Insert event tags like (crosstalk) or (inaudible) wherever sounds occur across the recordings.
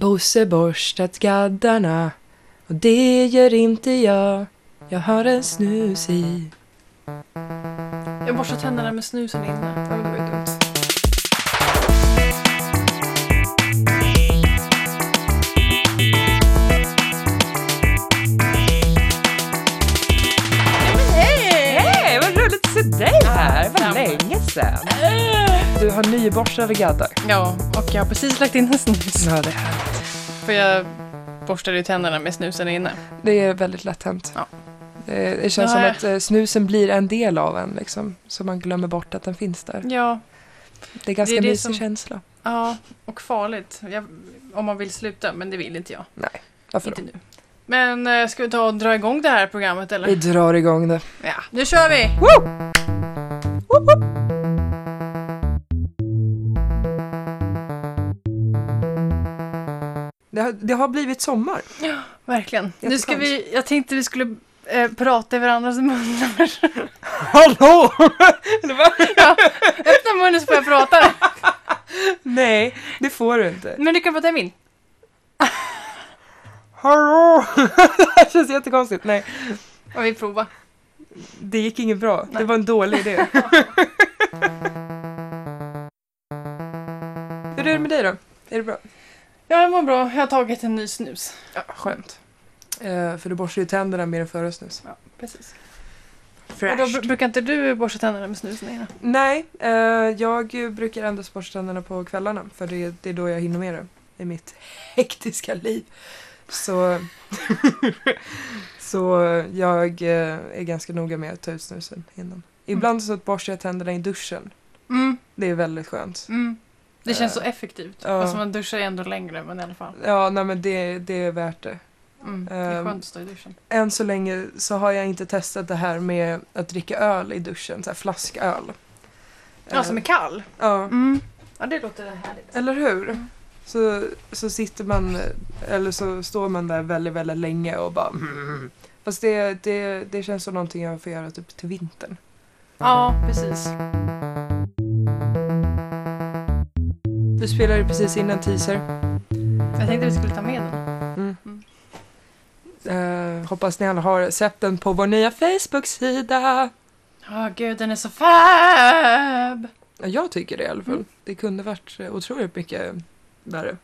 Bosse borstat gaddarna och det gör inte jag. Jag har en snus i. Jag borstar tänderna med snusen inne. Ja, men Det var ju dumt. Hej, vad roligt att se dig här. Vad Samma. länge sedan. Du har nyborstade gaddar. Ja, och jag har precis lagt in en snus. Ja, det är härligt. För jag borstade ju tänderna med snusen inne. Det är väldigt lätt hänt. Ja. Det, det känns Nej. som att eh, snusen blir en del av en, liksom, så man glömmer bort att den finns där. Ja, Det är ganska det mysig som- känsla. ja och farligt. Jag, om man vill sluta, men det vill inte jag. Varför Inte nu. Men eh, ska vi ta och dra igång det här programmet då? Vi eller? drar igång det. Ja, nu kör vi! Det har, det har blivit sommar. Verkligen. är Nu ska skönt. vi, jag tänkte vi skulle eh, prata i varandras munnar. (laughs) Hallå! Öppna munnen så får jag prata. (laughs) Nej, det får du inte. Men du kan prata i min. Hallå! (laughs) det känns jättekonstigt. Nej, Och vi (laughs) provar. det gick inget bra. Nej. Det var en dålig idé. Hur är det med dig då? Är det bra? Ja, det var bra. Jag har tagit en ny snus. Ja, skönt. Eh, för du borstar ju tänderna mer än före snus. Ja, precis. Och Fresh. då br- brukar inte du borsta tänderna med snusen innan? Nej, eh, jag brukar endast borsta tänderna på kvällarna för det, det är då jag hinner med det i mitt (laughs) hektiska liv. (laughs) Så, så jag eh, är ganska noga med att ta ut snusen innan. Ibland så borstar jag tänderna i duschen. Mm, Det är väldigt skönt. mm. Det känns så Eh, effektivt. ja. Alltså man duschar ju ändå längre, men i alla fall. Ja, nej men det, det är värt det. Mm. Det är Ehm. skönt att stå i duschen. Än så länge så har jag inte testat det här med att dricka öl i duschen, så här flasköl. Eh, Ja, som är kall. Ja. Mm. Ja, det låter härligt. Eller hur? Så, så sitter man, eller så står man där väldigt, väldigt länge och bara mm. Fast det, det, det känns som någonting jag får göra typ till vintern. Ja, precis. Du spelade precis innan teaser. Jag tänkte vi skulle ta med den. Eh, hoppas ni alla har sett den på vår nya Facebook-sida. Ja, gud, den är så fab! Ja, Jag tycker det i alla fall. Det kunde varit eh, otroligt mycket värre.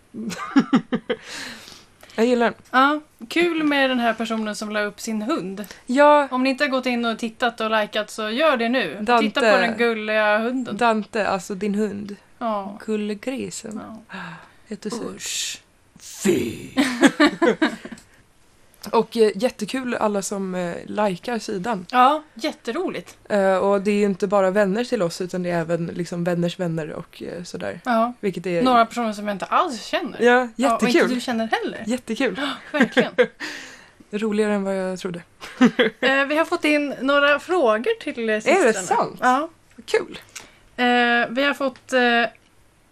(laughs) jag gillar den. Ja, kul med den här personen som la upp sin hund. Ja, Om ni inte har gått in och tittat och likat så gör det nu. Dante. Titta på den gulliga hunden. Dante, alltså din hund. Ja. Gullegrisen. ja. Jättesur. Usch. Fy. (laughs) och eh, jättekul alla som eh, likar sidan. Ja, jätteroligt. Eh, och det är ju inte bara vänner till oss utan det är även liksom vänners vänner och eh, sådär. Ja. Vilket är... Några personer som jag inte alls känner. Ja, Ja, och inte jättekul. du känner heller. Jättekul. (laughs) Verkligen. Roligare än vad jag trodde. Eh, vi har fått in några frågor till eh, systrarna. Är det sant? Ja. Kul. Eh, vi har fått eh,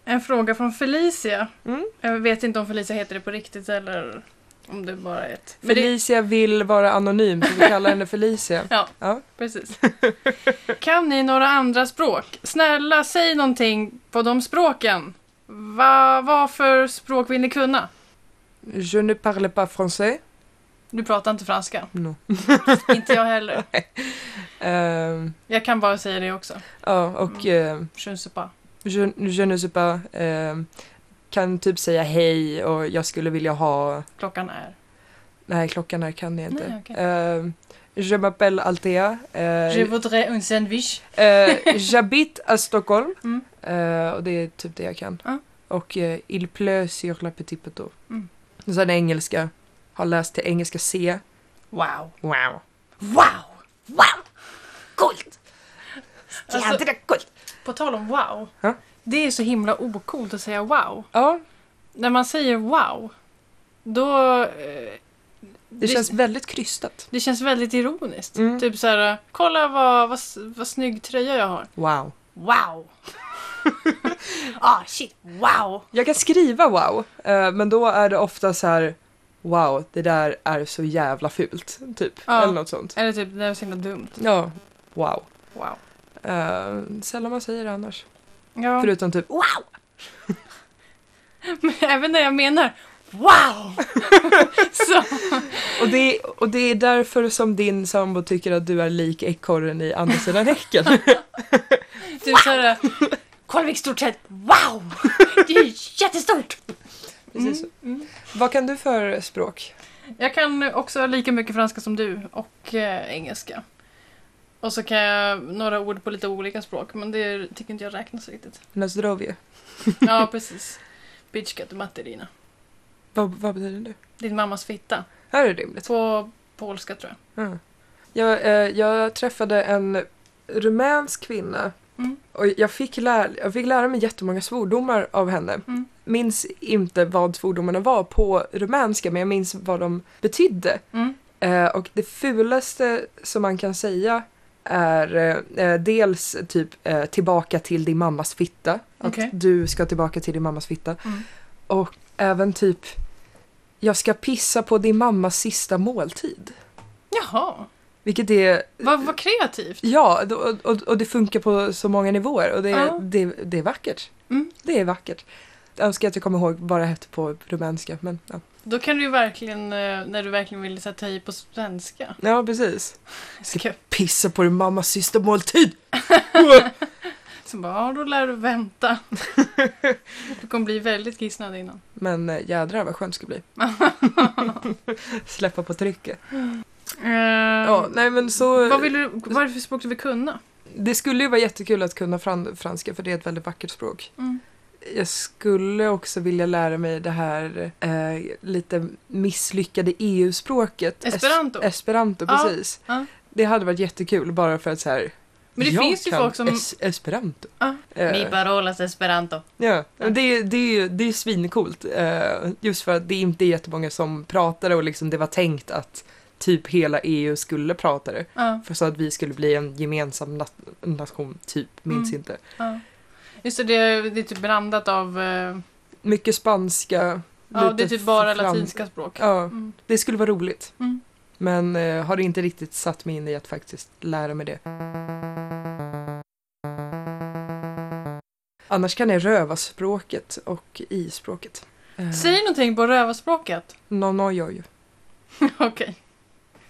en fråga från Felicia. Mm. Jag vet inte om Felicia heter det på riktigt eller om det bara är ett... Men det- Felicia vill vara anonym så vi kallar henne (laughs) Felicia. Ja, Ja. (laughs) precis. Kan ni några andra språk? Snälla, säg någonting på de språken. Va, vad för språk vill ni kunna? Je ne parle pas français. Du pratar inte franska. No. inte (laughs) jag heller. Eh, Jag kan bara säga det också. ja, och eh, Je ne sais pas. je, je ne sais pas. eh, kan typ säga hej och jag skulle vilja ha Klockan är. Nej, klockan här kan jag inte. Nej, okej. Eh, je m'appelle Altea. Eh, Je voudrais un sandwich. eh, J'habite à Stockholm. (laughs) Mm. Eh, och det är typ det jag kan. Ja. Och eh, Il pleut sur la petite poteau. Mm. Och sen engelska. Har läst till engelska C. Wow. Wow. Wow! Wow! Coolt! Alltså, Jädra coolt! på tal om wow. Ja. Det är så himla ocoolt att säga wow. Ja, När man säger wow, då... eh, det känns väldigt krystat. Det känns väldigt ironiskt. Mm. Typ så här, kolla vad, vad, s- vad snygg tröja jag har. Wow. Wow! (laughs) ah, shit! Wow! Jag kan skriva wow, eh, men då är det ofta så här Wow, det där är så jävla fult. Typ. Ja. Eller något sånt. Eller typ, det där var så himla dumt. Ja, wow. Wow. Uh, sällan man säger det annars. Ja, Förutom typ Wow! (laughs) men även när jag menar Wow! (laughs) så, Och det, och det är därför som din sambo tycker att du är lik ekorren i andra sidan (laughs) häcken. du såhär, Kolvik stort sett, wow! Det (laughs) är jättestort! Precis. Mm, mm. Vad kan du för språk? Jag kan också lika mycket franska som du och eh, engelska. Och så kan jag några ord på lite olika språk, men det tycker inte jag räknas (laughs) riktigt. Nazdrovje. Ja, precis. Bitchka du materina. Vad, vad betyder det? Din mammas fitta. Här är det rimligt. På polska tror jag. Mm. Jag, eh, jag träffade en rumänsk kvinna Mm. och jag fick, lära, jag fick lära mig jättemånga svordomar av henne. Mm. Minns inte vad svordomarna var på rumänska men jag minns vad de betydde. Mm. Eh, och det fulaste som man kan säga är eh, eh, dels typ eh, tillbaka till din mammas fitta. Att Okej. du ska tillbaka till din mammas fitta. Mm. Och även typ jag ska pissa på din mammas sista måltid. Jaha, Vilket är, vad vad kreativt. ja, då- och, och, och det funkar på så många nivåer och det, Ja. det, det är vackert. Mm. Det är vackert. Jag önskar att jag kommer ihåg vad det hette på rumänska, men ja. Då kan du ju verkligen, eh, när du verkligen vill så här, ta i på svenska. Ja, precis. Ska, Pissa på din mammas sista (laughs) måltid! så bara, ja, då lär du vänta. (laughs) Du kommer bli väldigt kissnödig innan. Men eh, jädrar vad skönt det ska (laughs) bli. Släppa på trycket. Ja, nej men så... Eh, Mm. Vad vill du, vad är det för språk du vill kunna? Det skulle ju vara jättekul att kunna fran- franska för det är ett väldigt vackert språk. Mm. Jag skulle också vilja lära mig det här eh, lite misslyckade EU-språket. Es- Esperanto. esperanto, Ja, precis. ja. Det det hade varit jättekul bara för att så här... Men det jag finns ju kan folk som- Es- esperanto. Ja. Eh, parolas esperanto. Ja, men det, är- det, är ju- det är svincoolt. eh, Just för att det inte är jättemånga som pratar och liksom det var tänkt att typ hela EU skulle prata det. Ja, För så att vi skulle bli en gemensam nat- nation, typ, minns Mm. inte. ja. Just det, det är, det är typ blandat av... eh, Mycket spanska. Ja, lite det är typ bara fram- latinska språk. Ja, Mm. det skulle vara roligt. Mm. Men eh, har inte riktigt satt mig in i att faktiskt lära mig det. Annars kan jag röva språket och i-språket. Eh, Säg någonting på rövarspråket. (laughs) No, no, joj. Okej.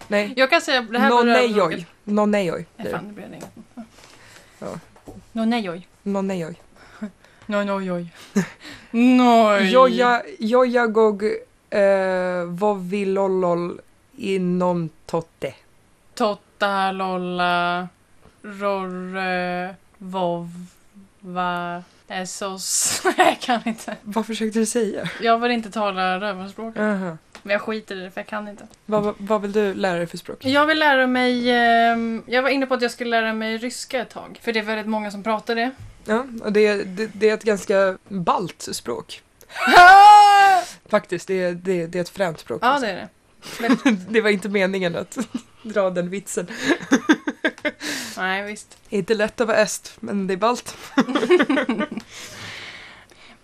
Nej, Jag kan säga det här på Nonejoj. Nonejoj. Nej, fan, det blev det inget. Ja. No, nej, oj. Nonejoj. No, no, (laughs) oj. Noj. Joja, joja gog eh, vovilolol inom totte. Totta, lolla, rorre, vovva, essos. (laughs) Nej, jag kan inte. Vad försökte du säga? Jag vill inte tala rövarspråk. Aha. Men jag skiter i det för jag kan inte. Vad, vad vill du lära dig för språk? Jag vill lära mig... ehm, jag var inne på att jag skulle lära mig ryska ett tag. För det är väldigt många som (laughs) pratar det. Ja, och det, är- det, det är ett ganska balt språk. Faktiskt, det, är- det, är- det är ett fränt språk. Ja, alltså. det är det. (laughs) det var inte meningen att (laughs) dra den vitsen. Nej, visst. Inte lätt att vara est, men det är balt.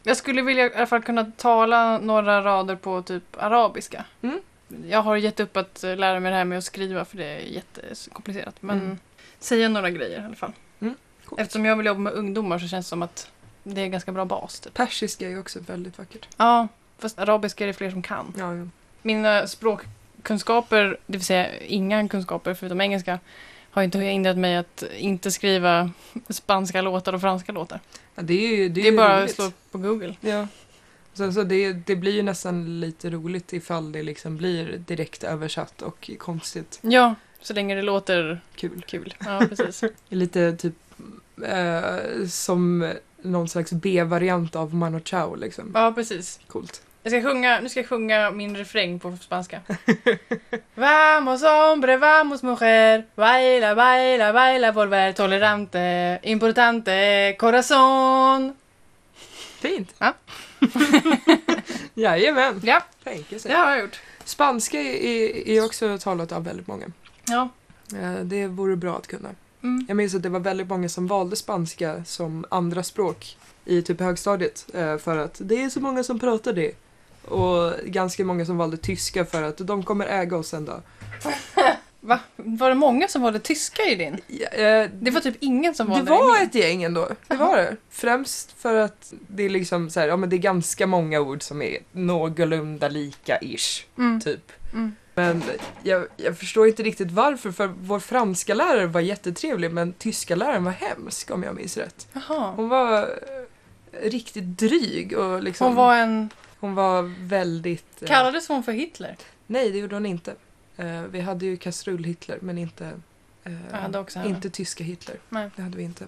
Jag skulle vilja i alla fall kunna tala några rader på typ arabiska. Mm. Jag har gett upp att eh, lära mig det här med att skriva för det är jättekomplicerat. Men Mm. säga några grejer i alla fall. Mm, coolt. Eftersom jag vill jobba med ungdomar så känns det som att det är en ganska bra bas. Typ. Persiska är ju också väldigt vackert. Ja, fast arabiska är det fler som kan. Ja, ja. Mina språkkunskaper, det vill säga inga kunskaper förutom engelska, har inte hindrat mig att inte skriva spanska låtar och franska låtar. Ja, det är ju Det är, ju bara att roligt. slå på Google. Ja. Sen så det, det blir ju nästan lite roligt ifall det liksom blir direkt översatt och konstigt Ja, så länge det låter kul. kul. (laughs) Ja, precis. Lite typ eh, som någon slags B-variant av Mano Chao liksom. Ja, precis. Coolt. Jag ska sjunga, nu ska jag sjunga min refräng på (laughs) spanska. vamos hombre, vamos mujer, baila, baila, baila, volver, tolerante, importante, corazón. Fint! Ja. (laughs) Jajamän! Ja, Tänker sig. det har jag gjort. Spanska är, är också talat av väldigt många. Ja. Eh, Det vore bra att kunna. Mm. Jag minns att det var väldigt många som valde spanska som andra språk i typ högstadiet eh, för att det är så många som pratar det. Och ganska många som valde tyska för att de kommer äga oss en dag. Va? Var det många som valde tyska i din? Ja, eh, Det var typ ingen som Det valde var i min. ett gäng ändå. Det var det. Främst för att det är liksom så här, ja men det är ganska många ord som är någorlunda lika-ish, Mm. typ. Mm. Men jag, jag förstår inte riktigt varför, för vår franska lärare var jättetrevlig men tyska läraren var hemsk om jag minns rätt. Jaha. Hon var eh, riktigt dryg och liksom... Hon var en... hon var väldigt... eh, Kallades hon för Hitler? Nej, det gjorde hon inte. Eh, vi hade ju kastrull-Hitler, men inte, eh, Jag hade också henne. inte tyska Hitler. Nej. Det hade vi inte.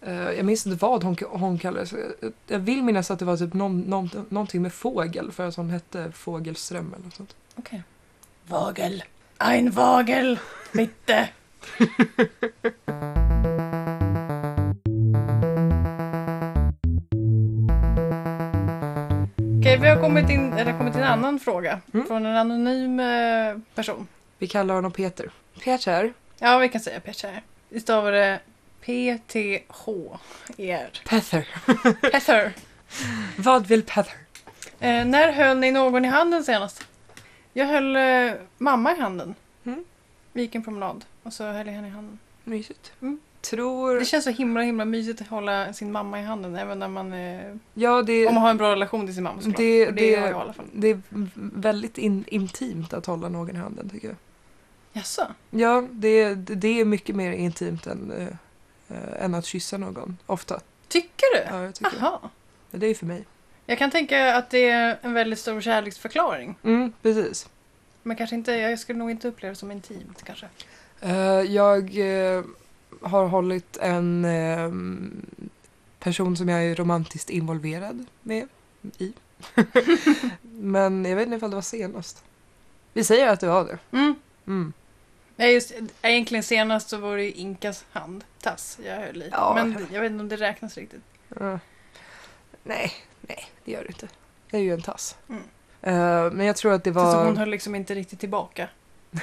Eh, jag minns inte vad hon, hon kallades. Jag- Jag vill minnas att det var typ någon, någon, någonting med fågel, för att hon hette Fågelström eller något sånt. Okej. Vagel. Ein Vagel. Bitte. (laughs) Okej, vi har kommit in, eller kommit till en annan fråga. Mm. Från en anonym eh, person. Vi kallar honom Peter. Peter. Ja, vi kan säga Petter. Vi stavar det (laughs) P-T-H-E-R. Peter. Petter. Vad vill Peter? Eh, när höll ni någon i handen senast? Jag höll eh, mamma i handen. Mm. Vi gick en promenad och så höll jag henne i handen. Mysigt. Mm. Tror... Det känns så himla himla mysigt att hålla sin mamma i handen även när man, eh, Ja, det, om man har en bra relation till sin mamma såklart. Det- Och det, det- har jag i alla fall. det är väldigt in, intimt att hålla någon i handen, tycker jag. Jaså? Ja, det, det är mycket mer intimt än, eh, eh, än att kyssa någon. Ofta. Tycker du? Ja, jag tycker. Jaha. Det är ju för mig. Jag kan tänka att det är en väldigt stor kärleksförklaring. Mm, precis. Men kanske inte, jag skulle nog inte uppleva det som intimt kanske. Eh, jag eh, har hållit en eh, person som jag är romantiskt involverad med i. Men jag vet inte ifall det var senast. Vi säger att det var det. Mm. Mm. Nej, just, egentligen senast så var det ju Inkas hand, tass, jag höll i. Ja. Men jag vet inte om det räknas riktigt. Mm. Ja. Nej, nej, det gör det inte. Det är ju en tass. Mm. Eh, men jag tror att det Så, så var... (laughs) hon höll liksom inte riktigt tillbaka. Äh.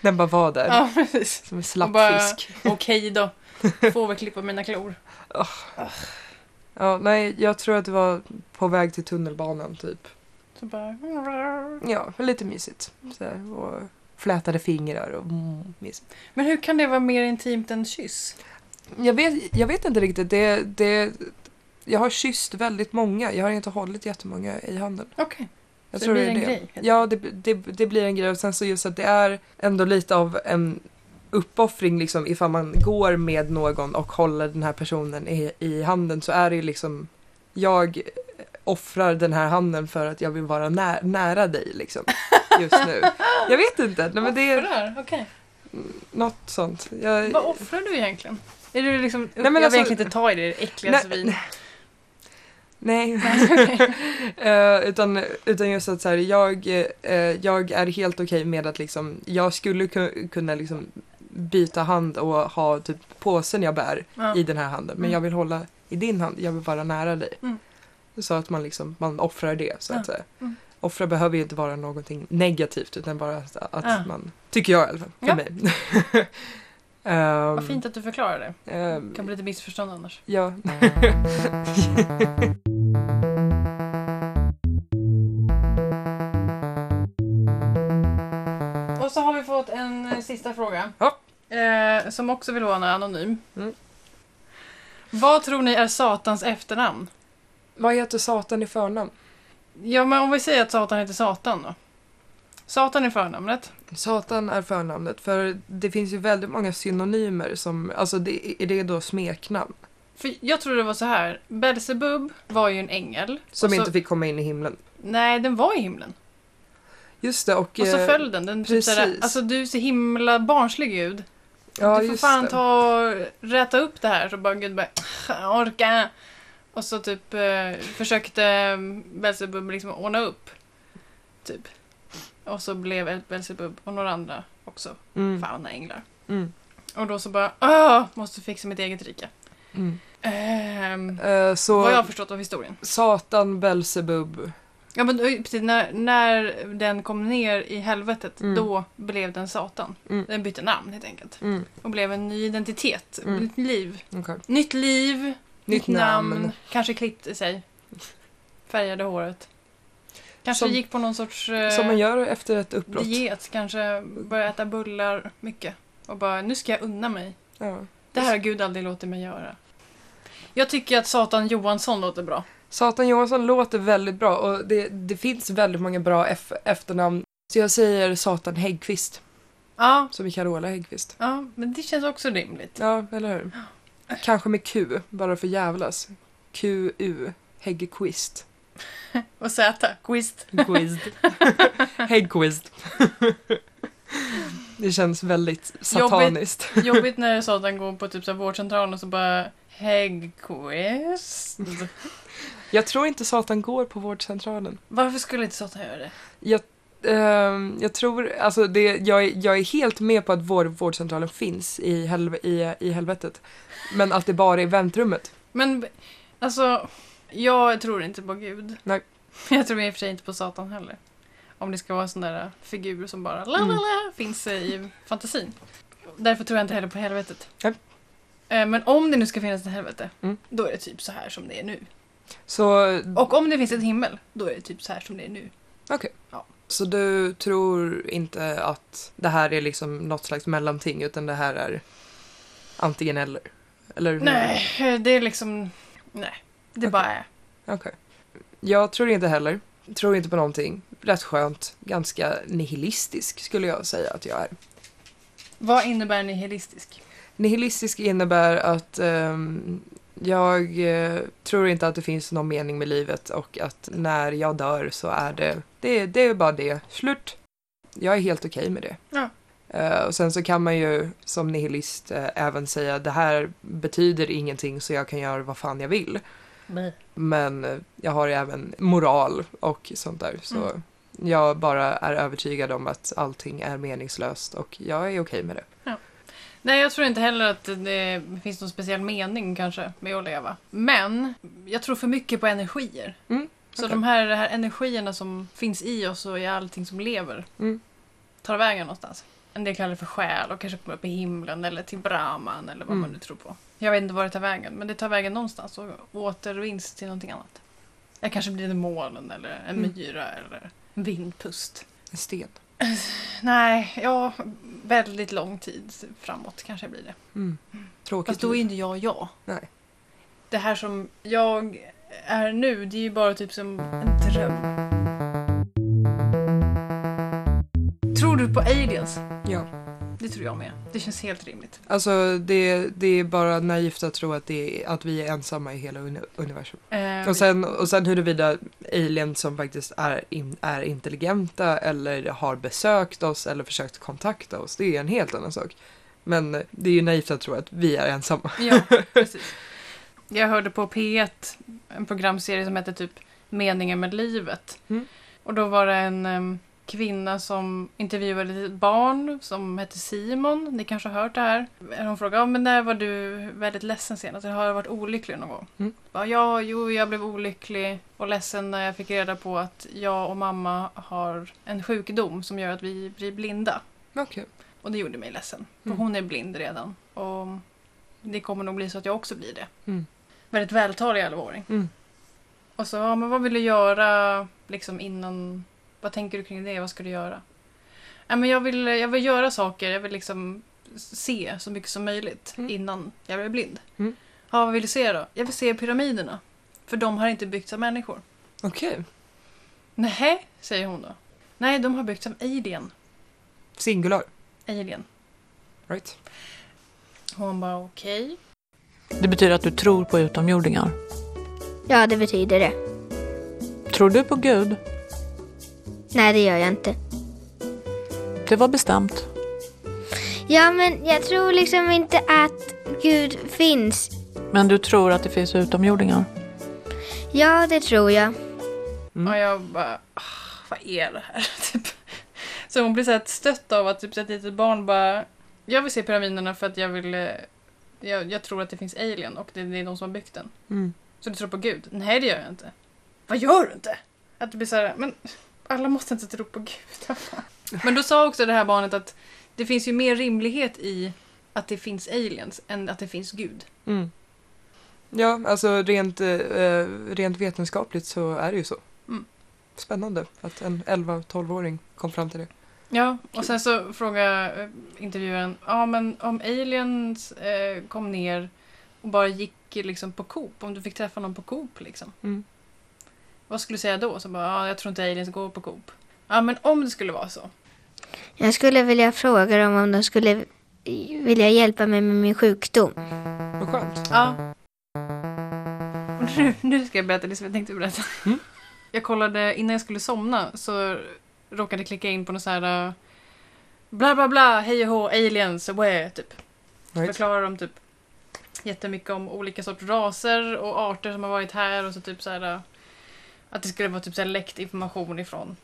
Den bara var där. Ja, precis. Som en Och slapp bara- fisk. (laughs) Okej då, får väl klippa mina klor. Ja, nej, jag tror att det var på väg till tunnelbanan typ. Så bara... Ja, lite mysigt. Så här, och flätade fingrar och mm, mysigt. Men hur kan det vara mer intimt än kyss? Jag vet, jag vet inte riktigt. Det, det, jag har kysst väldigt många. Jag har inte hållit jättemånga i handen. Okej, Jag så det blir en är grej. Ja, det, det, det blir en grej. Och sen så just att det är ändå lite av en uppoffring liksom ifall man går med någon och håller den här personen i, i handen så är det ju liksom jag offrar den här handen för att jag vill vara nä, nära dig liksom just nu. Jag vet inte, nej, men det är Offrar, okej. något sånt. Jag, Vad offrar du egentligen? Är du liksom... men jag alltså- vill egentligen inte ta i det, det äckliga Nej, svin. nej. nej. (laughs) Eh, utan, utan just att så här, jag, eh, jag är helt okej med att liksom, jag skulle ku- kunna liksom byta hand och ha typ påsen jag bär Ja. i den här handen. Men Mm. jag vill hålla i din hand, jag vill vara nära dig. Mm. Så att man liksom, man offrar det så Ja. att säga. Mm. Offra behöver ju inte vara någonting negativt utan bara att, att Ja. man, tycker jag i alla fall, för Ja. mig. (laughs) Ehm, Vad fint att du förklarar det. ehm, Det kan bli lite missförstånd annars. (laughs) Ja. Och så har vi fått en eh, sista fråga. Ja. Eh, som också vill vara anonym. Mm. Vad tror ni är Satans efternamn? Vad heter Satan i förnamn? Ja, men om vi säger att Satan heter Satan då. Satan är förnamnet. Satan är förnamnet, för det finns ju väldigt många synonymer som, alltså det, är det då smeknamn? För jag tror det var så här. Belzebub var ju en ängel. Som Och så- inte fick komma in i himlen. Nej, den var i himlen. Just det, och... Och så eh, föll den. den typ såhär, precis. alltså du är så himla barnslig Gud. ja, du får just fan det. ta och räta upp det här. Så bara Gud bara, "Ah, orka. Och så typ eh, försökte Belzebub liksom ordna upp. Typ. Och så blev Belzebub och några andra också Mm, fan änglar. mm, Och då så bara, Åh, måste fixa mitt eget rike. mm. Ehm, Eh, så Vad jag har förstått av historien. Satan, Belsebub. Ja men eh, precis, när, när den kom ner i helvetet Mm. då blev den Satan. Mm. Den bytte namn helt enkelt. Mm, Och blev en ny identitet, Mm. nytt liv. okej. Nytt liv, nytt, Nytt namn. namn. Kanske klippte sig. Färgade håret. Kanske Som- gick på någon sorts eh, Som man gör efter ett uppbrott. diet. Kanske började äta bullar mycket. Och bara, nu ska jag unna mig. Ja. Det här har Gud aldrig låtit mig göra. Jag tycker att Satan Johansson låter bra. Satan Johansson låter väldigt bra och det, det finns väldigt många bra eff- efternamn. Så jag säger Satan Häggqvist, Ja, som i Carola Häggqvist. ja, men det känns också rimligt. Ja, eller hur? Kanske med Q, bara för jävlas. Q-U, Häggqvist. Och Z, Quist. (laughs) Quizd. Häggqvist. Det känns väldigt sataniskt. Jobbigt när Satan går på typ så här vårdcentralen och så bara Häggquist. Jag tror inte Satan går på vårdcentralen. Varför skulle inte Satan göra det? Jag, ehm, jag tror, alltså det, jag, är- jag är helt med på att vår vårdcentralen finns i, helv, i, i helvetet. Men att det bara är väntrummet. Men alltså, jag tror inte på Gud. Nej. Jag tror i och för sig inte på Satan heller. Om det ska vara en sån där figur som bara la la Mm. la finns i fantasin. Därför tror jag inte heller på helvetet. Nej. Eh, Men om det nu ska finnas ett helvete, Mm. då är det typ så här som det är nu. Så, Och om det finns ett himmel, då är det typ så här som det är nu. så du tror inte att det här är liksom något slags mellanting utan det här är antingen eller? Eller hur? Nej, det är liksom... Nej, det bara är. Okej. Jag tror inte heller. Tror inte på någonting. Rätt skönt. Ganska nihilistisk skulle jag säga att jag är. Vad innebär nihilistisk? Nihilistisk innebär att ehm, jag eh, tror inte att det finns någon mening med livet och att när jag dör så är det, det, det är bara det, slut. Jag är helt okej med det. Ja. Eh, och sen så kan man ju som nihilist eh, även säga det här betyder ingenting så jag kan göra vad fan jag vill. Men eh, jag har ju även moral och sånt där så Mm. jag bara är övertygad om att allting är meningslöst och jag är okej med det. Nej, jag tror inte heller att det finns någon speciell mening kanske med att leva. Men jag tror för mycket på energier. Mm, Så okej. de här, de här energierna som finns i oss och i allting som lever Mm. tar vägen någonstans. En del kallar det för själ och kanske kommer upp i himlen eller till Brahman eller vad man Mm. nu tror på. Jag vet inte var det tar vägen, men det tar vägen någonstans och återvinns till någonting annat. Jag kanske blir ett moln eller en Mm. myra eller en vindpust. En sten. Nej, ja, väldigt lång tid framåt kanske blir det. Mm. Tråkigt. Fast då är ju inte jag jag. Nej. Det här som jag är nu, det är ju bara typ som en dröm. Tror du på aliens? Ja. Det tror jag med. Det känns helt rimligt. Alltså det, det är bara naivt att tro att, det är, att vi är ensamma i hela uni- universum. Eh, Och sen, och sen huruvida aliens som faktiskt är, in, är intelligenta eller har besökt oss eller försökt kontakta oss, det är en helt annan sak. Men det är ju naivt att tro att vi är ensamma. (laughs) Ja, precis. Jag hörde på P1 en programserie som hette typ Meningen med livet. Mm. Och då var det en em, kvinna som intervjuade ett litet barn som hette Simon. Ni kanske har hört det här. Hon frågade, ja, men när var du väldigt ledsen senast? Har du varit olycklig någon gång? Mm. Bara, ja, jo, jag blev olycklig och ledsen när jag fick reda på att jag och mamma har en sjukdom som gör att vi blir blinda. Okej. Och det gjorde mig ledsen. För Mm. hon är blind redan. Och det kommer nog bli så att jag också blir det. Mm. Väldigt vältalig alvåring. Mm. Och så, ja, men vad vill du göra liksom innan? Vad tänker du kring det? Vad ska du göra? Ja, men jag, vill, jag vill göra saker. Jag vill liksom se så mycket som möjligt Mm. innan jag blir blind. Mm. Ja, vad vill du se då? Jag vill se pyramiderna. För de har inte byggts av människor. Okej. Nej, säger hon då. Nej, de har byggts av alien. Singular. alien. Right. Hon bara okej. Det betyder att du tror på utomjordingar. Ja, det betyder det. Tror du på Gud? Nej, det gör jag inte. Det var bestämt. Ja, men jag tror liksom inte att Gud finns. Men du tror att det finns utomjordingar? Ja, det tror jag. Och jag bara, "Ah, vad är det här? (laughs) typ. Så hon blir så här stött av att typ, så ett litet barn bara, jag vill se pyramiderna för att jag vill, eh, jag, jag tror att det finns alien och det, det är de som har byggt den. Mm. Så du tror på Gud? Nej, det gör jag inte. Vad gör du inte? Att det blir så här, men alla måste inte tro på Gud. men då sa också det här barnet att det finns ju mer rimlighet i att det finns aliens än att det finns Gud. Mm. Ja, alltså rent, eh, eh, rent vetenskapligt så är det ju så. Mm. spännande att en 11-12-åring kom fram till det. Ja, och sen så frågar eh, intervjuaren, ja men om aliens eh, kom ner och bara gick eh, liksom på Coop, om du fick träffa någon på Coop liksom. Mm. Vad skulle du säga då? Så bara, ja jag tror inte aliens går på Coop. Ja men om det skulle vara så. Jag skulle vilja fråga dem om de skulle vilja hjälpa mig med min sjukdom. Vad skönt. Ja. Och nu, nu ska jag berätta det som jag tänkte berätta. Mm. Jag kollade, innan jag skulle somna så råkade jag klicka in på något så här eh, bla bla bla, hej och hå, aliens, away, typ. Right. förklarar de typ jättemycket om olika sorters raser och arter som har varit här och så typ så här äh, att det skulle vara typ så här läckt information ifrån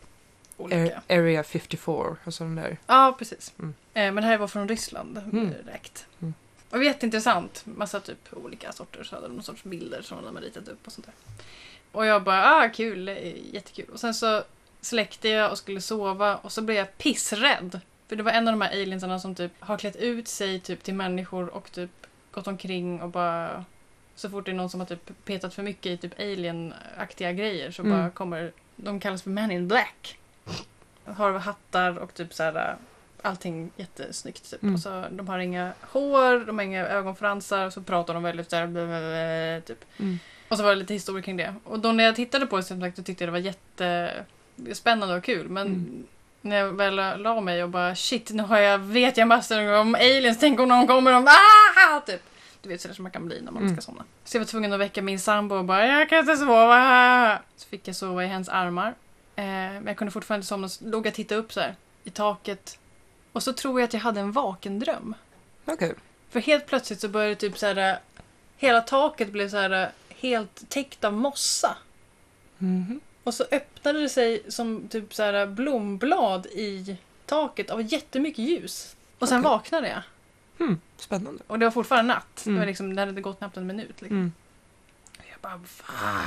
olika. Ar- Area 54, alltså den där. Ja, precis. Mm. Eh, Men det här var från Ryssland Mm. direkt. Mm. Och jätteintressant. Massa typ olika sorter. Så hade de någon sorts bilder som de hade ritat upp och sånt där. Och jag bara, ah kul, eh, jättekul. Och sen så släckte jag och skulle sova och så blev jag pissrädd. För det var en av de här aliensarna som typ har klätt ut sig typ till människor och typ gått omkring och bara så fort det är någon som har typ petat för mycket i typ alien-aktiga grejer så Mm. bara kommer de kallas för Man in Black. Har hattar och typ så här allting jättesnyggt typ. Mm. Och så, de har inga hår, de har inga ögonfransar och så pratar de väldigt så här, blä, blä, blä, typ. Mm. Och så var det lite historia kring det. Och då när jag tittade på det som sagt, då tyckte jag det var jättespännande och kul. Men Mm. när jag väl la mig och bara shit, nu har jag, vet jag massor om aliens. Tänk om någon kommer och de, ah! Typ. Du vet sådär som man kan bli när man Mm. ska somna. Så jag var tvungen att väcka min sambo och bara jag kan inte sova. Så fick jag sova i hennes armar. Eh, men jag kunde fortfarande inte somna. Så låg jag och tittade upp så här i taket. Och så tror jag att jag hade en vaken dröm. Okej. För helt plötsligt så började typ så här. Hela taket blev så här eh, helt täckt av mossa. Mhm. Och så öppnade det sig som typ så här blomblad i taket av jättemycket ljus. Och sen Okej. vaknade jag. Hmm, Spännande. Och det var fortfarande natt. Det, var Mm. liksom, det hade gått knappt en minut. Liksom. Mm. Jag bara va?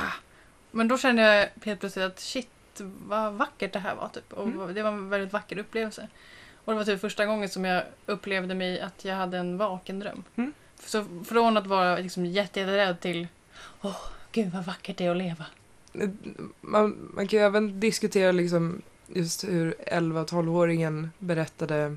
Men då kände jag helt plötsligt att shit vad vackert det här var. Typ. Och Mm. Det var en väldigt vacker upplevelse. Och det var typ första gången som jag upplevde mig att jag hade en vaken dröm. Mm. Så från att vara liksom jätte, jätterädd till åh gud vad vackert det är att leva. Man, man kan ju även diskutera liksom just hur 11-12-åringen berättade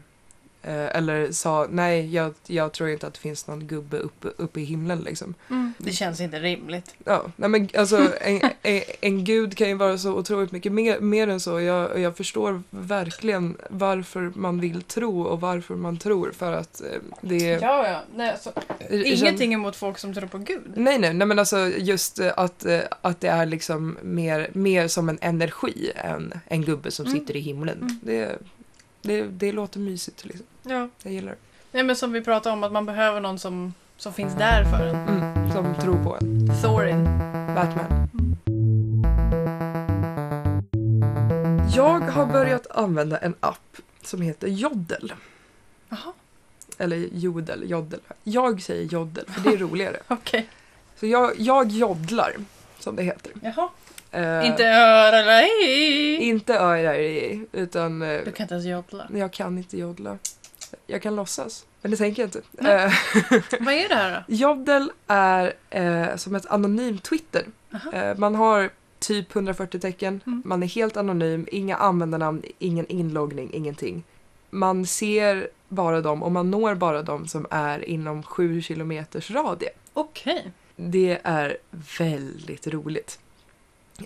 eh, eller sa nej, jag, jag tror inte att det finns någon gubbe uppe, uppe i himlen liksom. Det känns inte rimligt. Ja, nej men (laughs) alltså en, en, en gud kan ju vara så otroligt mycket mer, mer än så. Jag, jag förstår verkligen varför man vill tro och varför man tror för att eh, det är... Ja, ja. Nej, alltså, det känns- ingenting emot folk som tror på gud. Nej, nej, nej men alltså just eh, att, eh, att det är liksom mer, mer som en energi än en gubbe som Mm. sitter i himlen. Mm. Det, det, det låter mysigt liksom. Ja. Jag gillar det. Nej men som vi pratade om att man behöver någon som, som finns där för en. Mm. Som tror på en. Thorin. Batman. Mm. Jag har börjat använda en app som heter Jodel. Jaha, Eller Jodel, Jodel. Jag säger Jodel för det (laughs) är roligare. okej. Så jag, jag jodlar, som det heter. Jaha. Eh, Inte öra eller hej. Inte örar utan... eh, Du kan inte ens joddla. Nej, Jag kan inte jodla. Jag kan låtsas, men det tänker jag inte. Nej. Eh, (laughs) Vad är det här då? Jodel är eh, som ett anonymt Twitter. Aha. Eh, man har typ 140 tecken, Mm. man är helt anonym, inga användarnamn, ingen inloggning, ingenting. Man ser bara dem och man når bara dem som är inom 7 kilometers radie. Okej. Det är väldigt roligt.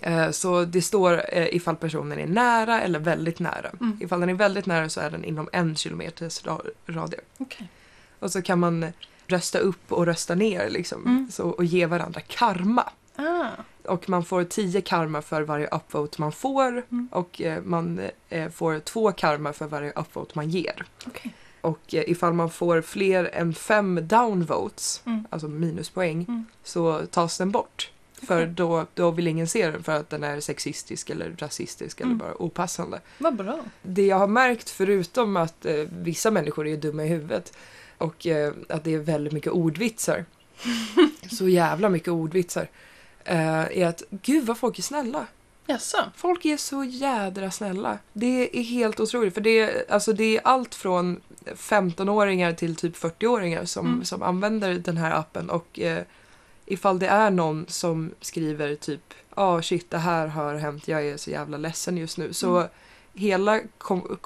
Eh, Så det står eh, ifall personen är nära eller väldigt nära. Mm. Ifall den är väldigt nära så är den inom en kilometers ra- radie. Okej. Och så kan man rösta upp och rösta ner liksom. Mm. Så, och ge varandra karma. Ah. Och man får 10 karma för varje upvote man får. Mm. Och eh, man eh, får två karma för varje upvote man ger. Okej. Och eh, ifall man får fler än fem downvotes, Mm. alltså minuspoäng, Mm. så tas den bort. För Okej. då, då vill ingen se den för att den är sexistisk eller rasistisk Mm. eller bara opassande. Vad bra. Det jag har märkt, förutom att eh, vissa människor är dumma i huvudet och eh, att det är väldigt mycket ordvitsar, så jävla mycket ordvitsar, eh, är att gud vad folk är snälla. Jaså? Folk är så jädra snälla. Det är helt otroligt. För det är, alltså det är allt från 15-åringar till typ 40-åringar som, Mm. som använder den här appen. Och eh, ifall det är någon som skriver typ ja ja shit det här har hänt, jag är så jävla ledsen just nu. Så Mm. hela kom-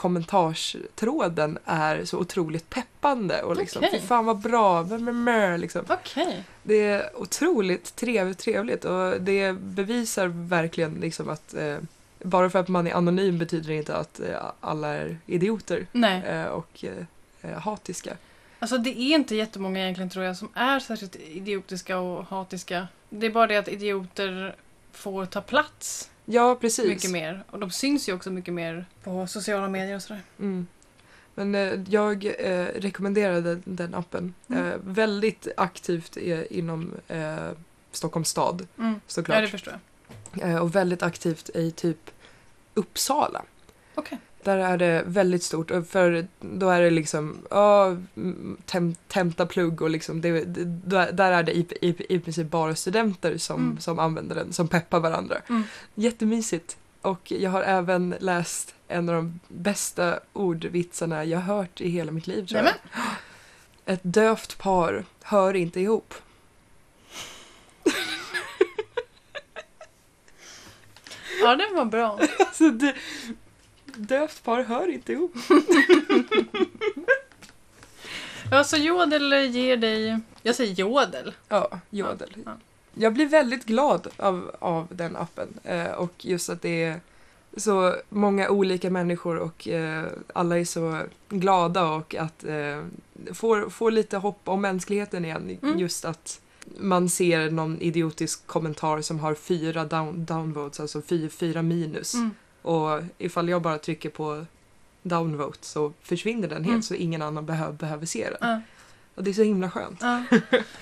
kommentarstråden är så otroligt peppande och liksom, Okej. fy fan vad bra, mö, mö, mö, liksom. Okej. Det är otroligt trevligt, trevligt och det bevisar verkligen liksom att eh, bara för att man är anonym betyder det inte att eh, alla är idioter Nej. eh, och eh, eh, hatiska. Alltså det är inte jättemånga egentligen tror jag som är särskilt idiotiska och hatiska. Det är bara det att idioter får ta plats Ja, precis. mycket mer. Och de syns ju också mycket mer på sociala medier och sådär. Mm. Men eh, jag eh, rekommenderar den, den appen. Mm. Eh, väldigt aktivt eh, inom eh, Stockholms stad Mm. Ja, det såklart. förstår jag. eh, och väldigt aktivt i typ Uppsala. Okej. Där är det väldigt stort och för då är det liksom ja, mm, tem, tenta plugg och liksom det, det, där- där är det i, i, i princip bara studenter som, Mm. som använder den, som peppar varandra. Mm. Jättemysigt. Och jag har även läst en av de bästa ordvitsarna jag hört i hela mitt liv tror jag. Nämen. (gasps) Ett dövt par hör inte ihop. Ja, den var bra. Alltså, det, dövt par hör inte ihop. Ja, så jodel ger dig... Jag säger jodel. Ja, jodel. Ja. Jag blir väldigt glad av, av den appen eh, och just att det är så många olika människor och eh, alla är så glada och att eh, får, får lite hopp om mänskligheten igen. Mm. Just att man ser någon idiotisk kommentar som har fyra down, downvotes, alltså fy, fyra minus. Mm. Och ifall jag bara trycker på downvote så försvinner den helt Mm. så ingen annan behö- behöver se den. Ja, Och det är så himla skönt. ja.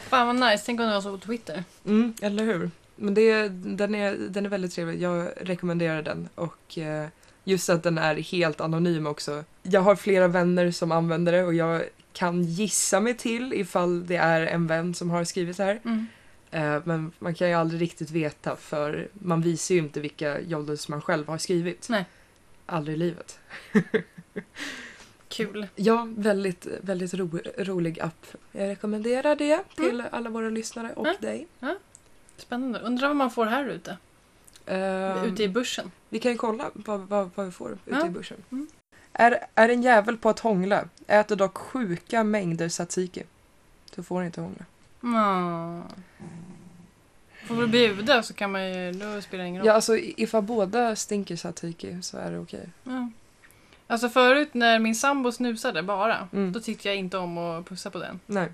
Fan vad nice, tänk om det var så på Twitter. Mm, eller hur? Men det, den, är, den är väldigt trevlig. Jag rekommenderar den. Och eh, just att den är helt anonym också. Jag har flera vänner som använder det och jag kan gissa mig till ifall det är en vän som har skrivit det här. Mm. Eh, men man kan ju aldrig riktigt veta för man visar ju inte vilka jodels man själv har skrivit. Nej. Aldrig i livet. Kul. Ja, väldigt, väldigt ro, rolig app. Jag rekommenderar det till alla våra lyssnare och Mm. dig. Spännande. Undrar vad man får här ute. Ehm, Ute i bussen. Vi kan ju kolla vad, vad, vad vi får ute Ja. i börsen. Mm. Är, är en jävel på att hångla, äter dock sjuka mängder tzatziki. Så får ni inte hångla. Mm. Får vi bjuda så kan man ju... Då spelar det ingen roll. Ja, alltså i- ifall båda stinker tzatziki så är det okej. Ja. Alltså förut när min sambo snusade bara, Mm. då tyckte jag inte om att pussa på den. Nej.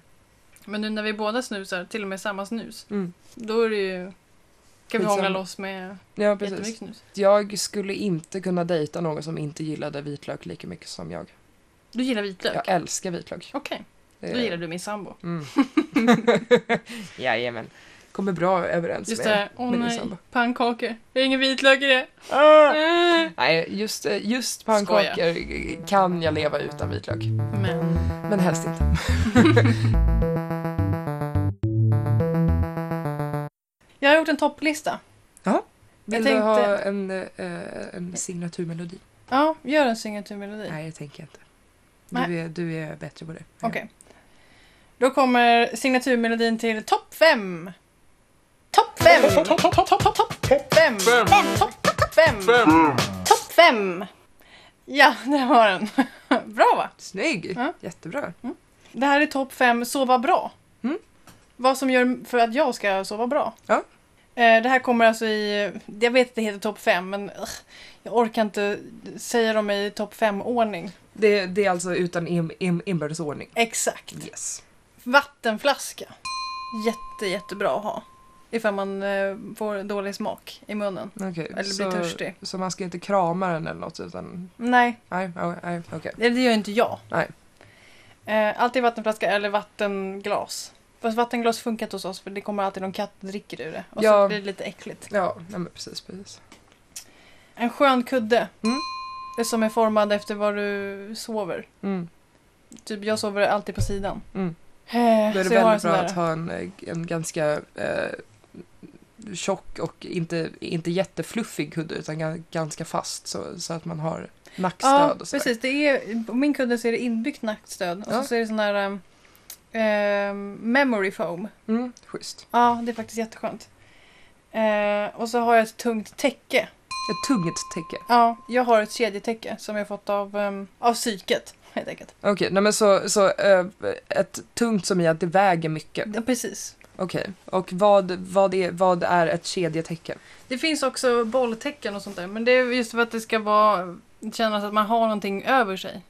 Men nu när vi båda snusar, till och med samma snus, Mm. då är det ju... Kan vi Skitsamma. hångla loss med Ja, jättemycket precis. snus. Jag skulle inte kunna dejta någon som inte gillade vitlök lika mycket som jag. Du gillar vitlök? Jag älskar vitlök. Okej, Det då är- gillar du min sambo. Mm. (laughs) Jajamän. Kommer bra överens Just det, med här, åh min nej, sambo. pannkakor. Det är ingen vitlök i det. Ah! Äh. Nej, just, just pannkakor kan jag leva utan vitlök. Men Men helst inte. jag har gjort en topplista. Vill Jag du ha tänkte- en, eh, en signaturmelodi? Ja, gör en signaturmelodi. Nej, det tänker jag inte. Nej. Du är, du är bättre på det. Okej. Då kommer signaturmelodin till topp fem. Topp fem. Topp topp topp topp topp fem. Topp fem. Mm. Topp fem. Ja, det var den. (laughs) Bra va? Snygg! Ja. Jättebra. Det här är topp fem sova bra. Mm. Vad som gör för att jag ska sova bra. Ja. Eh, Det här kommer alltså i, jag vet att det heter topp fem men ugh, jag orkar inte säga dem i topp fem ordning. Det, det är alltså utan im, im, inbördesordning. Exakt. Yes. Vattenflaska. Jätte, jättebra att ha. Ifall man eh, får dålig smak i munnen. Okej. Eller blir törstig. Så man ska inte krama den eller något utan... Nej, eh, Nej, ja, nej, okej. det det gör inte jag. Nej. Eh, alltid vattenflaska eller vattenglas. Fast vattenglas funkar inte hos oss för det kommer alltid någon katt och dricker ur det. Och så Ja. blir det lite äckligt. Ja, nej, men precis, precis. En skön kudde. Mm. Som är formad efter var du sover. Mm. Typ jag sover alltid på sidan. Mm. Eh, Då är det så jag har en väldigt sån bra där. att ha en, eh, en ganska eh, tjock och inte, inte jättefluffig kudde utan ga- ganska fast så, så att man har nackstöd Ja, och sådär. precis. Det är, på min kudde så är det inbyggt nackstöd. Och Ja. så är det sån här ehm, ehm, memory foam. Mm, schysst. Ja, det är faktiskt jätteskönt. Eh, Eh, och så har jag ett tungt täcke. Ett tungt täcke. Ja, jag har ett kedjetäcke som jag fått av, ehm, av psyket helt enkelt. Okej, nej men så, så eh, ett tungt som i att det väger mycket. Ja, precis. Okej, och vad, vad, är, vad är ett kedjetäcke? Det finns också bolltäcken och sånt där. Men det är just för att det ska vara, kännas att man har någonting över sig.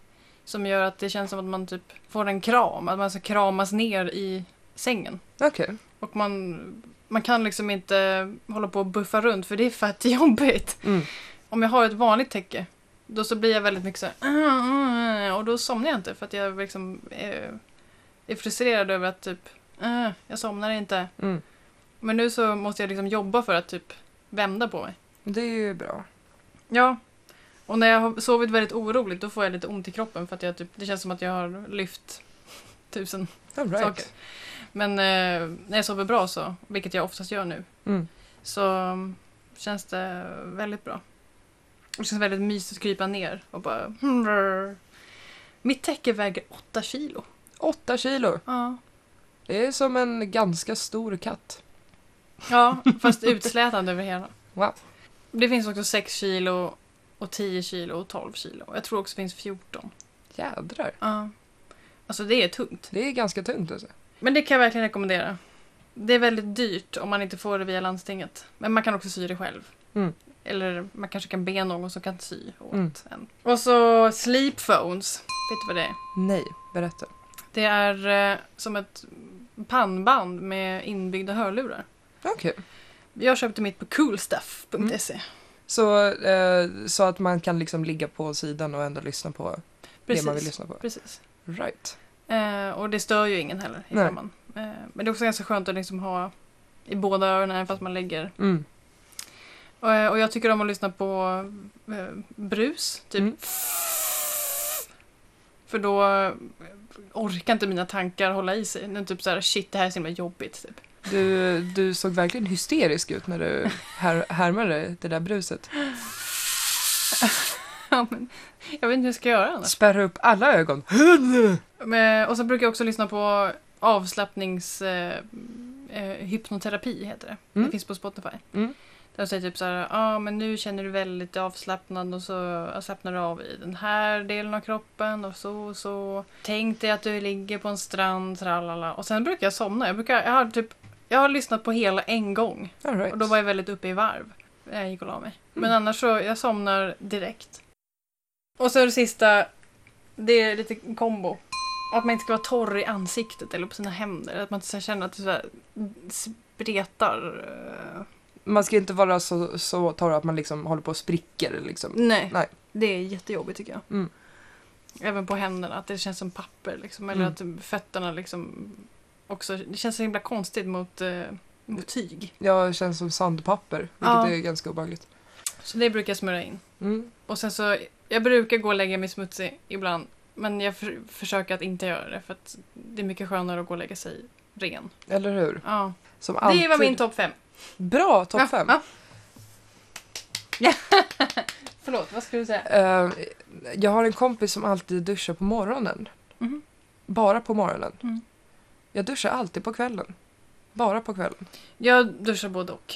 Som gör att det känns som att man typ får en kram. Att man ska kramas ner i sängen. Okej, Och man, man kan liksom inte hålla på och buffa runt för det är fett jobbigt. Mm. Om jag har ett vanligt täcke då så blir jag väldigt mycket så här, "Mm, mm, mm", och då somnar jag inte för att jag liksom är, är frustrerad över att typ "Mm, jag somnar inte. mm. Men nu så måste jag liksom jobba för att typ vända på mig. det är ju bra. Ja. Och när jag har sovit väldigt oroligt då får jag lite ont i kroppen för att jag typ, det känns som att jag har lyft tusen All right. Saker. Men eh, när jag sover bra så, vilket jag oftast gör nu, Mm. så mm, känns det väldigt bra. Det känns väldigt mysigt att krypa ner och bara... hmm, Mitt täcke väger 8 kilo. Åtta kilo, Ja, det är som en ganska stor katt. (laughs) ja fast utslätande över hela. Wow. Det finns också 6 kilo och 10 kilo och 12 kilo. Jag tror också det finns 14. Jädrar, Ja. Alltså det är tungt. det är ganska tungt alltså. Men det kan jag verkligen rekommendera. Det är väldigt dyrt om man inte får det via landstinget. Men man kan också sy det själv. Mm. Eller man kanske kan be någon som kan sy åt Mm. en. Och så sleepphones. Vet du vad det är? Nej, berätta. Det är eh, som ett pannband med inbyggda hörlurar. Okej, Mm. Jag köpte mitt på coolstuff.se. så, eh, så att man kan liksom ligga på sidan och ändå lyssna på Precis. det man vill lyssna på. Precis. Right. Eh, och det stör ju ingen heller. Nej. ifall Man. Eh, men det är också ganska skönt att liksom ha i båda öronen även fast man lägger Mm. Och, eh, och jag tycker om att lyssna på eh, brus, typ. Mm. För då eh, orkar inte mina tankar hålla i sig. Den är typ såhär, shit det här är så himla jobbigt. Typ. (laughs) Du, du såg verkligen hysterisk ut när du här, härmade det där bruset. Ja, men, jag vet inte hur jag ska göra annars. Spärra upp alla ögon. Men, och så brukar jag också lyssna på avslappnings... Eh, eh, hypnoterapi heter det. Mm. Det finns på Spotify. Mm. Där de säger typ så här, ja ah, men nu känner du väldigt avslappnad och så slappnar du av i den här delen av kroppen och så och så. Tänk dig att du ligger på en strand, tralala. Och sen brukar jag somna. Jag, brukar, jag, har, typ, jag har lyssnat på hela en gång All right. och då var jag väldigt uppe i varv när jag gick och la mig. Mm. Men annars så, jag somnar direkt. Och så det sista, det är lite kombo. Att man inte ska vara torr i ansiktet eller på sina händer. Att man inte ska känna att det så här spretar. eh. Man ska inte vara så, så torr att man liksom håller på och spricker. Liksom. Nej. Nej. Det är jättejobbigt tycker jag. Mm. Även på händerna, att det känns som papper liksom. Eller Mm. att fötterna liksom också, det känns så himla konstigt mot, eh, mot tyg. Jag känns som sandpapper, vilket Ja. är ganska obehagligt. Så det brukar jag smörja in. Mm. Och sen så, jag brukar gå och lägga mig smutsig ibland. Men jag för, försöker att inte göra det för att det är mycket skönare att gå och lägga sig ren. Eller hur? Ja. Som alltid. Det var min topp fem. Bra, Ja, topp fem. Ja. (laughs) Förlåt, vad skulle du säga? Eh, jag har en kompis som alltid duschar på morgonen. Mhm. Bara på morgonen. Mm. Jag duschar alltid på kvällen. Bara på kvällen. Jag duschar både och.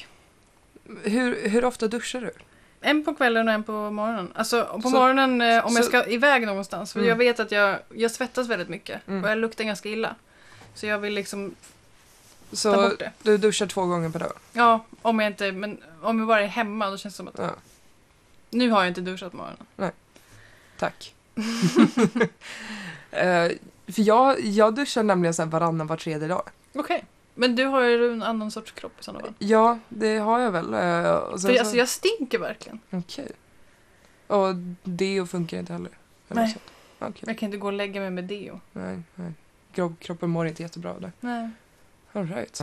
Hur, hur ofta duschar du? En på kvällen och en på morgonen. Alltså på Så- morgonen eh, om jag så- ska iväg någonstans. För Mm. jag vet att jag, jag svettas väldigt mycket Mm. och jag luktar ganska illa. Så jag vill liksom ta Så bort det. du duschar två gånger per dag? Ja, om jag inte, men om jag bara är hemma då känns det som att Ja. nu har jag inte duschat på morgonen. Tack. (laughs) Eh, för jag, jag duschar nämligen så här varannan var tredje dag. Okej. Men du har ju en annan sorts kropp i sådana fall. Ja, det har jag väl. eh, och sen För, så- alltså jag stinker verkligen. Okej. Och deo funkar inte heller? eller Nej. så? Okej. Jag kan inte gå och lägga mig med deo. Nej, nej. Kro- Kroppen mår inte jättebra av det. Nej. All right.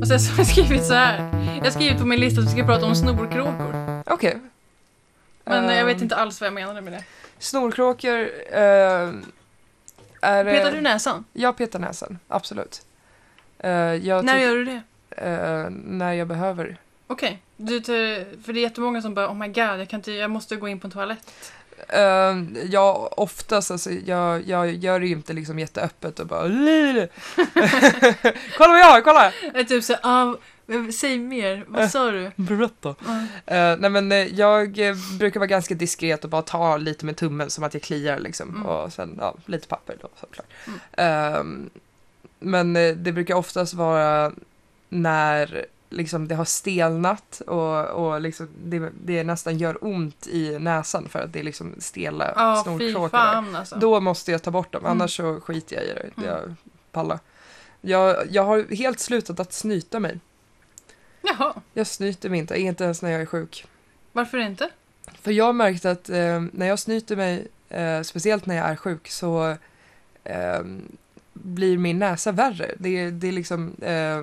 Och sen så har jag skrivit så här. Jag har skrivit på min lista att vi ska prata om snorkråkor. Okej. Men eh, jag Ehm, vet inte alls vad jag menade med det. Snorkråkor ehm, är... eh, Petar du näsan? Jag petar näsan, absolut. Eh, jag När tyck- gör du det? eh, när jag behöver. Okej. Du tar- För det är jättemånga som bara oh my god, jag, kan inte, jag måste gå in på en toalett. eh, jag oftast, alltså, jag, jag gör det ju inte liksom jätteöppet och bara "Lille." (laughs) Kolla vad jag har, kolla! Jag är typ så ah, men säg mer, vad sa du? Berätta. Ja. nej men eh, jag eh, brukar vara ganska diskret och bara ta lite med tummen som att jag kliar liksom. Mm. Och sen ja, lite papper då såklart. Ehm, men eh, det brukar oftast vara när liksom det har stelnat och, och liksom det, det nästan gör ont i näsan för att det är liksom stela Ja, fy snorkråkor. där. fan alltså. Då måste jag ta bort dem, Mm. annars så skiter jag i det. Mm. Jag pallar. Jag, jag har helt slutat att snyta mig. Jaha, Jag snyter mig inte, inte ens när jag är sjuk. varför inte? För jag har märkt att eh, när jag snyter mig, eh, speciellt när jag är sjuk, så eh, blir min näsa värre. Det, det är liksom... Eh,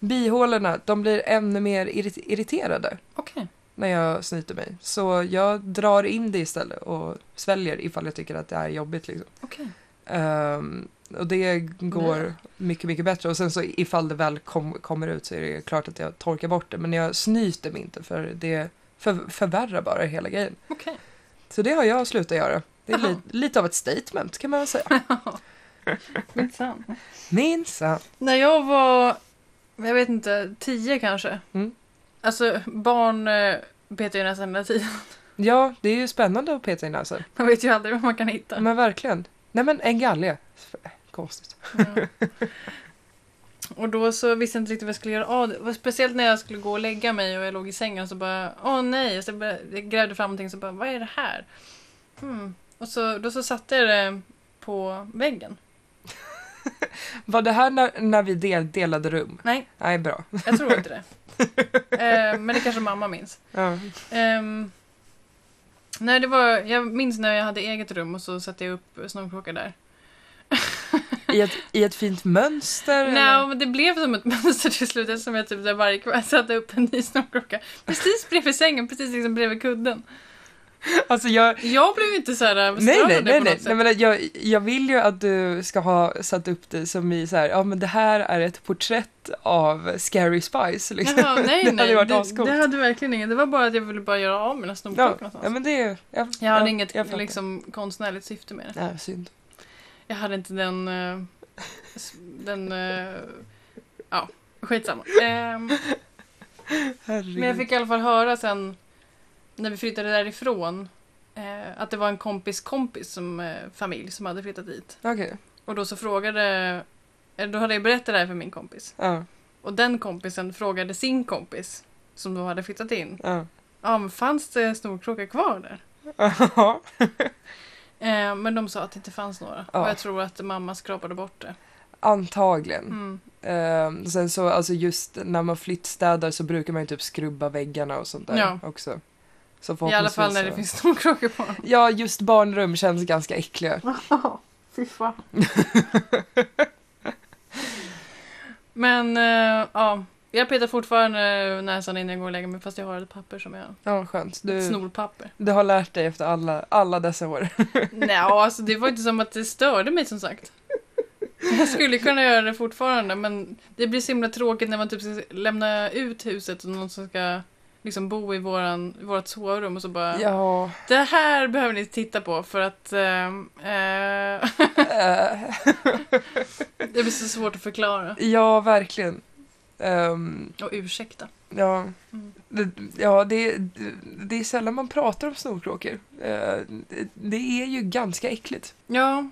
bihålorna, de blir ännu mer irrit- irriterade Okej. när jag snyter mig. Så jag drar in det istället och sväljer ifall jag tycker att det är jobbigt. Liksom. Okej. Ehm, och det går mycket, mycket bättre. Och sen så ifall det väl kom, kommer ut så är det klart att jag torkar bort det. Men jag snyter mig inte för det för, förvärrar bara hela grejen. Okej. Så det har jag slutat göra. Det är Jaha. li, lite av ett statement kan man väl (laughs) säga. Minsann. Minsann. När jag var, jag vet inte, tio kanske. Mm. Alltså barn eh, petar ju nästan hela tiden. (laughs) Ja, det är ju spännande att peta i näsan. Man vet ju aldrig vad man kan hitta. Men verkligen. Nej men en galge. Konstigt. Ja. Och då så visste jag inte riktigt vad jag skulle göra av det. Och Speciellt när jag skulle gå och lägga mig och jag låg i sängen så bara, åh nej. Så jag, bara, jag grävde fram någonting så bara, vad är det här? Hmm. Och så, då så satte jag det på väggen. Var det här när, när vi del, delade rum? Nej, Nej, bra. jag tror inte (laughs) det. eh, men det kanske mamma minns. Ja. Ehm, nej, det var, jag minns när jag hade eget rum och så satte jag upp (laughs) snorkråka där. I, ett, I ett fint mönster? Nej, men det blev som ett (laughs) mönster till slut eftersom jag typ där varje kväll satte upp en ny snorkråka. Precis bredvid sängen, precis liksom bredvid kudden. Alltså jag, Jag blev inte så här Nej, bestraffad nej, på nej, något nej. sätt. nej men jag, jag vill ju att du ska ha satt upp det som i så här, ja men det här är ett porträtt av Scary Spice liksom. Jaha, (laughs) nej, Det nej. hade ju varit det, ascoolt. det hade verkligen inget. Det var bara att jag ville bara göra av mina snorkråkor Ja, någonstans. ja men det är jag, jag hade ja, inget jag fattar. liksom, konstnärligt syfte med det. Nej, synd. Jag hade inte den... eh, s- den... eh, ja, skitsamma. Ehm, Herregud. Men jag fick i alla fall höra sen när vi flyttade därifrån eh, att det var en kompis kompis som eh, familj som hade flyttat dit. Okej, Och då så frågade, eller då hade jag berättat det här för min kompis. ja, Och den kompisen frågade sin kompis som då hade flyttat in. ja. (laughs) Ja, men fanns det snorkråkor kvar där? Ja. Eh, men de sa att det inte fanns några. Ja. Och jag tror att mamma skrapade bort det. Antagligen. Mm. Ehm, sen så, alltså just när man flyttstädar så brukar man ju typ skrubba väggarna och sånt där Ja. också. Så I alla förhoppningsvis fall när det så- finns snorkråkor på. Ja, just barnrum känns ganska äckliga. Fy fan. (laughs) Men eh, ja, jag petar fortfarande näsan innan jag går och lägger mig fast jag har ett papper som jag... Ja, skönt. Ett Du, snorpapper. du har lärt dig efter alla, alla dessa år. Nej, alltså det var inte som att det störde mig som sagt. Jag skulle kunna göra det fortfarande men det blir så himla tråkigt när man typ ska lämna ut huset och någon som ska liksom bo i våran, vårat sovrum och så (laughs) bara Ja. Det här behöver ni titta på för att ehm, eh, (laughs) Eh, det blir så svårt att förklara Ja, verkligen. Ehm, och ursäkta. ja. Mm. Det, ja, det, det är sällan man pratar om snorkråkor. Eh, det, det är ju ganska äckligt. Ja,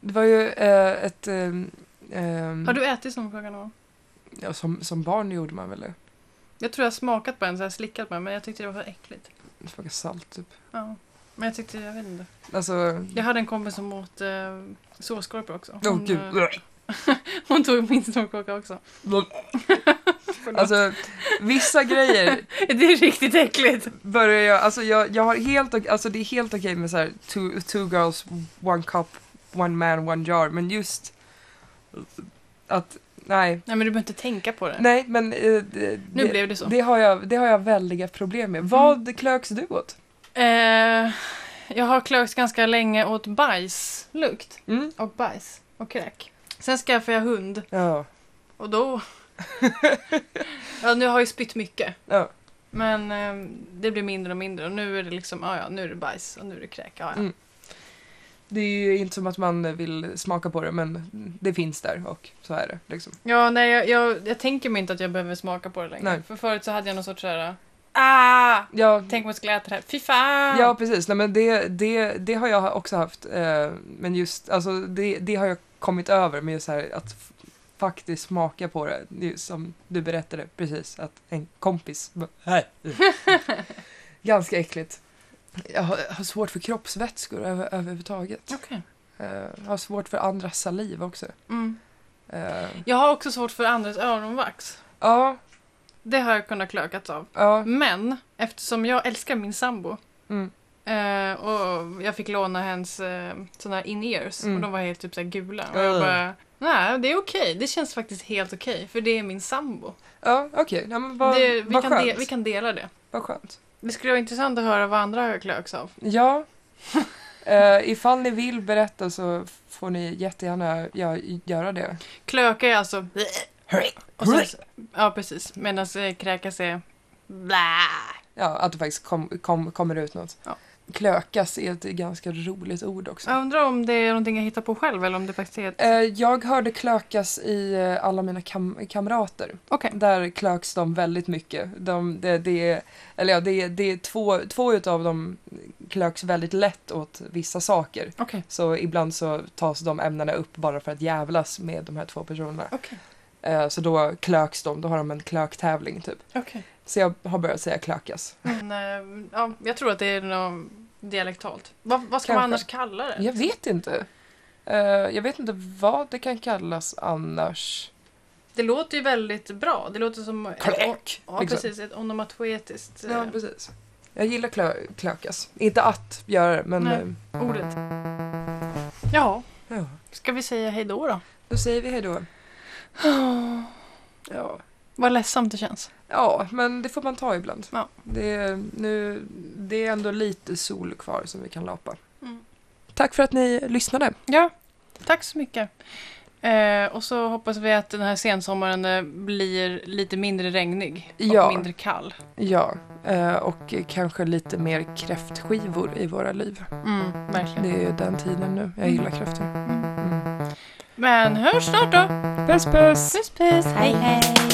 Det var ju eh, ett... ehm, ehm, Har du ätit snorkaka någon gång? ja, som, som barn gjorde man väl det. Jag tror jag har smakat på en så jag slickat på en men jag tyckte det var för äckligt. Det smakar salt, typ. Ja. Men jag tyckte, jag vet inte. Alltså... Jag hade en kompis som åt eh, såsskorpor också. Åh, Hon, gud. eh, hon tog min snorkaka också. Alltså, vissa grejer (laughs) Det är riktigt äckligt. börjar jag... Alltså, jag, jag har helt... ok- Alltså, det är helt okej med så här two, two girls, one cup, one man, one jar. Men just att... Nej, Nej men du behöver inte tänka på det. Nej, men eh, det, nu det, blev det så. Mm. det, har jag, det har jag väldiga problem med. Vad klöks du åt? Eh, jag har klökt ganska länge åt bajslukt. Mm? Och bajs. Och kräk. Sen skaffade jag hund Ja. (laughs) och då... ja nu har jag ju spytt mycket. ja. Men eh, det blir mindre och mindre och nu är det liksom, ja ja, nu är det bajs och nu är det kräk. Ja, ja. Mm. Det är ju inte som att man vill smaka på det men det finns där och så är det. Liksom. ja nej, jag, jag, jag tänker mig inte att jag behöver smaka på det längre. Nej. För förut så hade jag någon sorts såhär, ah! Ja, Tänk om jag skulle äta det här, fy fan! ja precis. Nej, men det, det, det har jag också haft. Eh, men just, alltså det, det har jag kommit över med just så här att f- faktiskt smaka på det. det är ju som du berättade precis, att en kompis... bara, "Här." (laughs) Ganska äckligt. Jag har, har svårt för kroppsvätskor över, överhuvudtaget. Okej. Eh, har svårt för andras saliv också. Mm. Eh, Jag har också svårt för andras öronvax. ja, Det har jag kunnat klökats av. ja. Men eftersom jag älskar min sambo Mm. eh, och jag fick låna hennes eh, såna här in-ears Mm. och de var helt typ så här gula. Och jag Ugh. bara, nej det är okej. Det känns faktiskt helt okej för det är min sambo. Ja, okej. Ja, men vad, det, vi, vad, kan de, skönt. vi kan dela det. vad skönt. Det skulle vara intressant att höra vad andra klöks av. (laughs) Ja. Eh, ifall ni vill berätta så får ni jättegärna gö- göra det. Klöka är alltså och sen, Ja precis, medan eh, kräkas är blä. Ja, att det faktiskt kom, kom, kommer ut något. Ja. Klökas är ett ganska roligt ord också. Jag undrar om det är någonting jag hittar på själv eller om det faktiskt är ett... Eh, jag hörde klökas i eh, alla mina kam- kamrater. Okej. Där klöks de väldigt mycket. De, det, det, är- eller ja, det, är- det är två, två utav dem klöks väldigt lätt åt vissa saker. Okej. Så ibland så tas de ämnena upp bara för att jävlas med de här två personerna. Okej. Eh, Så då klöks de, då har de en klöktävling typ. Okej. Så jag har börjat säga klökas. Men, eh, ja, jag tror att det är något dialektalt. Vad, vad Kanske. ska man annars kalla det? Jag vet inte. Eh, Jag vet inte vad det kan kallas annars. Det låter ju väldigt bra. Det låter som... Kläk, Ja, liksom. precis. Ett onomatoetiskt eh, Ja, precis. Jag gillar klö klökas. Inte att göra det, men... Nej. eh, ordet. Ja, Ja. ska vi säga hej då då? Då säger vi hej då. Ja. Vad ledsamt det känns. ja, men det får man ta ibland. Ja. Det, är, nu, det är ändå lite sol kvar som vi kan lapa. Mm. Tack för att ni lyssnade. Ja, tack så mycket. Eh, och så hoppas vi att den här sensommaren eh, blir lite mindre regnig och Ja. mindre kall. Ja, eh, och kanske lite mer kräftskivor i våra liv. Mm, verkligen. Det är ju den tiden nu. Jag gillar kräftor. Mm. Men hörs snart då! Puss puss! Puss puss! Hej hej!